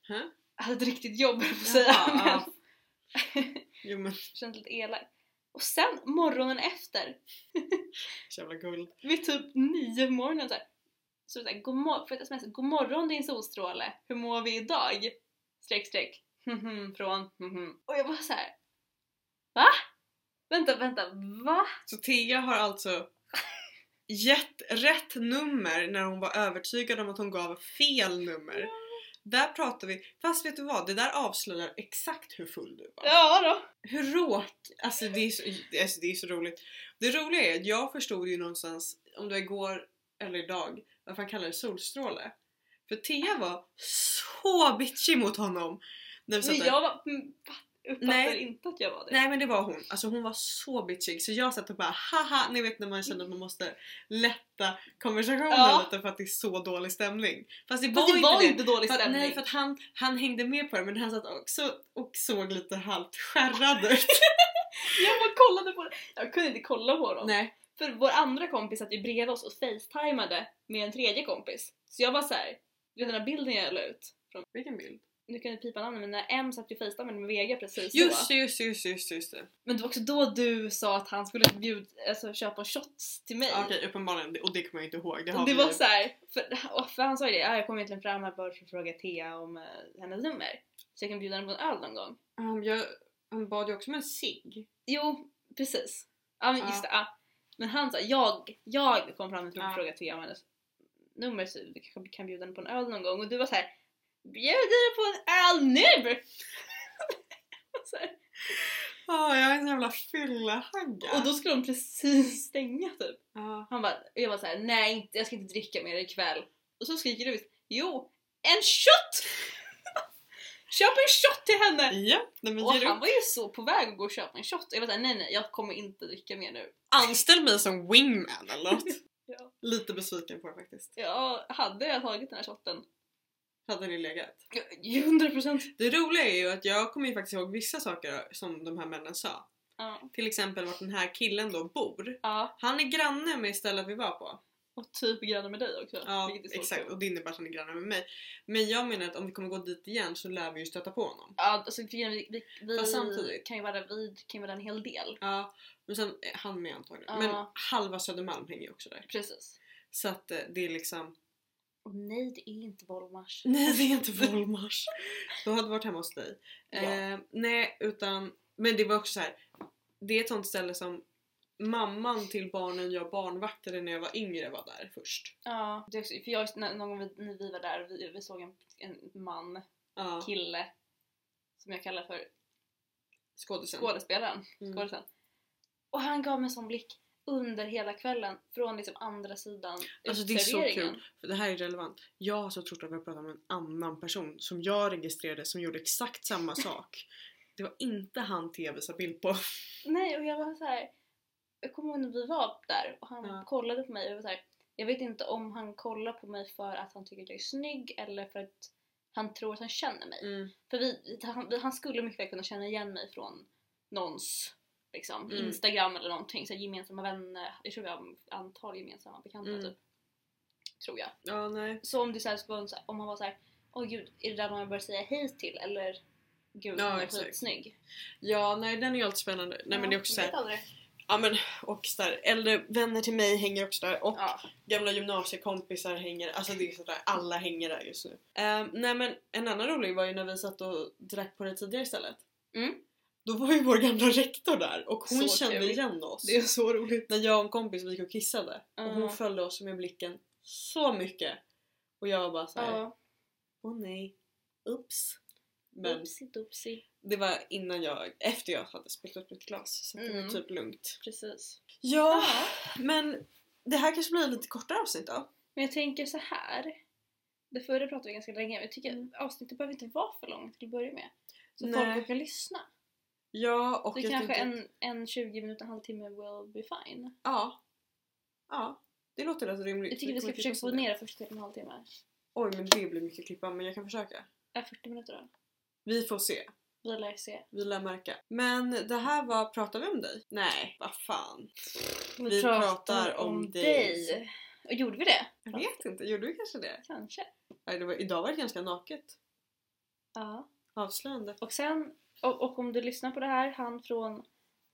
Hä?
Han hade ett riktigt jobb höll jag på att säga.
Jaha,
*laughs* men-
ja. *laughs* Jo men
Känns lite elak. Och sen morgonen efter,
jävla guld.
vid typ nio på morgonen såhär. Så såhär, god morgon, får jag ett sms? God morgon din solstråle, hur mår vi idag? Streck streck. Mhm, Från mhm. Och jag var så här. Va? Vänta, vänta, va?
Så Thea har alltså gett rätt nummer när hon var övertygad om att hon gav fel nummer. Där pratar vi, fast vet du vad? Det där avslöjar exakt hur full du var.
Ja då.
Hur råk... Alltså det, är så, alltså det är så roligt. Det roliga är att jag förstod ju någonstans, om det var igår eller idag, varför han kallar det solstråle. För Thea var så bitchig mot honom. När vi satt
Men
där.
jag var, mm, uppfattar
Nej.
inte att jag var det.
Nej men det var hon. Alltså hon var så bitchig så jag satt och bara haha, ni vet när man känner att man måste lätta konversationen
Ja.
lite för att det är så dålig stämning. Fast det
Fast
var,
det var
inte det.
inte dålig
För att,
stämning.
nej för att han, han hängde med på det men han satt också och såg lite halvt skärrad
*laughs*
ut.
Jag bara kollade på det. Jag kunde inte kolla på dem.
nej.
För vår andra kompis satt ju bredvid oss och facetimade med en tredje kompis. Så jag var så här, du vet den här bilden jag la ut?
Vilken bild?
Nu kan du pipa namnet men när M satt ju facetimade med Vega precis
Just
då.
det, just det, just det, just det, just det.
Men det var också då du sa att han skulle bjud, alltså, köpa shots till mig.
Okej uppenbarligen, och det kommer jag inte ihåg. Det har
det
vi
var
ju-
så här, för, och för han sa ju det, "Ja, jag kom egentligen fram här bara för att fråga Thea om eh, hennes nummer. Så jag kan bjuda henne på en öl någon gång.
han, jag, han bad ju också om en cigg.
Jo, precis. Ja men
Ja.
just det. Ja. Men han sa jag, jag kom fram och
Ja.
frågade till om hennes nummer så vi kanske kan bjuda henne på en öl någon gång och du var så här bjuder du på en öl nu? så här.
Ja, jag är en jävla fyllehagga.
Och då skulle de precis stänga typ.
Ja.
Han bara, och jag var så här, nej inte, jag ska inte dricka mer ikväll. Och så skriker du ut, jo en shot! *laughs* Köp en shot till henne!
Ja, nej men
Och
ger
han
upp.
var ju så på väg att gå och köpa en shot. Jag var såhär, nej nej jag kommer inte dricka mer nu.
Anställ mig som wingman eller något.
*laughs* Ja.
Lite besviken på det faktiskt.
Ja, hade jag tagit den här shotten?
Hade ni legat?
Ja, 100 procent.
Det roliga är ju att jag kommer ju faktiskt ihåg vissa saker som de här männen sa.
Ja.
Till exempel vart den här killen då bor.
Ja.
Han är granne med stället vi var på.
Och typ granne med dig också.
Ja,
vilket är så
exakt.
kul.
Och det innebär att han är granne med mig. Men jag menar att om vi kommer gå dit igen så lär vi ju stöta på honom.
Ja, alltså, vi, vi, vi
Fast samtidigt.
kan ju vara vi kan ju vara en hel del.
Ja, men sen är han med antagligen.
Ja.
Men halva Södermalm hänger ju också där.
Precis.
Så att eh, det är liksom...
Och nej, det är inte Volmars.
*laughs* Nej det är inte *laughs* Volmars. Då hade varit hemma hos dig.
Ja.
Eh, nej utan... Men det var också så här. Det är ett sånt ställe som mamman till barnen jag barnvaktade när jag var yngre var där först.
Ja, det är också, för jag, när- någon gång vi, när vi var där, vi, vi såg en, en man,
Ja,
kille, som jag kallar för
skådisen.
skådespelaren.
Mm.
skådisen. Och han gav mig en sån blick under hela kvällen från liksom andra sidan
Alltså det är så
utserveringen.
kul, för det här är relevant. Jag har så trott att vi har pratat om en annan person som jag registrerade som gjorde exakt samma *laughs* sak. Det var inte han TV sa bild på.
Nej och jag var så här. jag kommer ihåg när vi var där och han
Ja.
kollade på mig och jag var så här. jag vet inte om han kollar på mig för att han tycker att jag är snygg eller för att han tror att han känner
Mm.
mig. För vi, han, vi, han skulle mycket väl kunna känna igen mig från någons liksom,
Mm.
Instagram eller någonting, så här, gemensamma vänner, jag tror vi har ett antal gemensamma bekanta
Mm.
typ. Tror jag.
Ja, nej.
Så om det så här skulle vara en så här, om han var så här, åh gud, är det där någon jag bör säga hej till? Eller gud,
Ja,
hon är
exakt.
skitsnygg.
Ja, nej den är ju alltid spännande. Nej men det är också såhär, ja men och så här, äldre vänner till mig hänger också där och
Ja.
gamla gymnasiekompisar hänger, alltså det är sådär, alla hänger där just nu. Ehm, nej men en annan rolig var ju när vi satt och drack på det tidigare istället.
Mm.
Då var ju vår gamla rektor där och hon
Så
kände
trevligt.
igen oss.
Det är så roligt.
när jag och en kompis vi gick och kissade och hon
Ja.
följde oss med blicken så mycket och jag var bara såhär, åh
Ja.
nej, ups. Men
Oopsie doopsie.
det var innan jag, efter jag hade spilt upp mitt glas så det
Mm.
var typ lugnt.
Precis. Ah.
Ja, men det här kanske blir lite kortare avsnitt då?
Men jag tänker så här. Det förra pratade vi ganska länge men jag tycker
Mm.
att avsnittet behöver inte vara för långt till att börja med. Så
Nej.
folk orkar lyssna.
Ja och
Så
jag
kanske
tänker-
en, en 20 minuter, en halvtimme will be fine.
Ja. Ja. Det låter rätt rimligt.
Jag tycker vi ska
kommer
försöka
klippa
få
som det.
ner det först till en halvtimme.
Oj men det blir mycket klippa men jag kan försöka.
Äh, 40 minuter då.
Vi får se.
Vi lär se.
Vi lär märka. Men det här var Pratar vi om dig? Nej, vad fan.
Vi,
pratar om dig.
Och gjorde vi det?
Jag vet inte, gjorde vi kanske det?
Kanske.
Nej, det var, idag var det ganska naket.
Ja.
Avslöjande.
Och sen, och, och om du lyssnar på det här, han från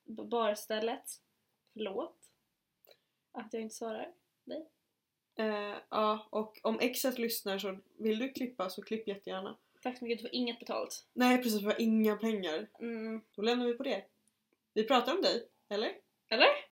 b- barstället, förlåt att jag inte svarar.
Eh, ja, och om exet lyssnar så vill du klippa så klipp jättegärna.
Tack så mycket, du får inget betalt.
Nej precis, vi har inga pengar.
Mm.
Då lämnar vi på det. Vi pratar om dig, eller?
Eller?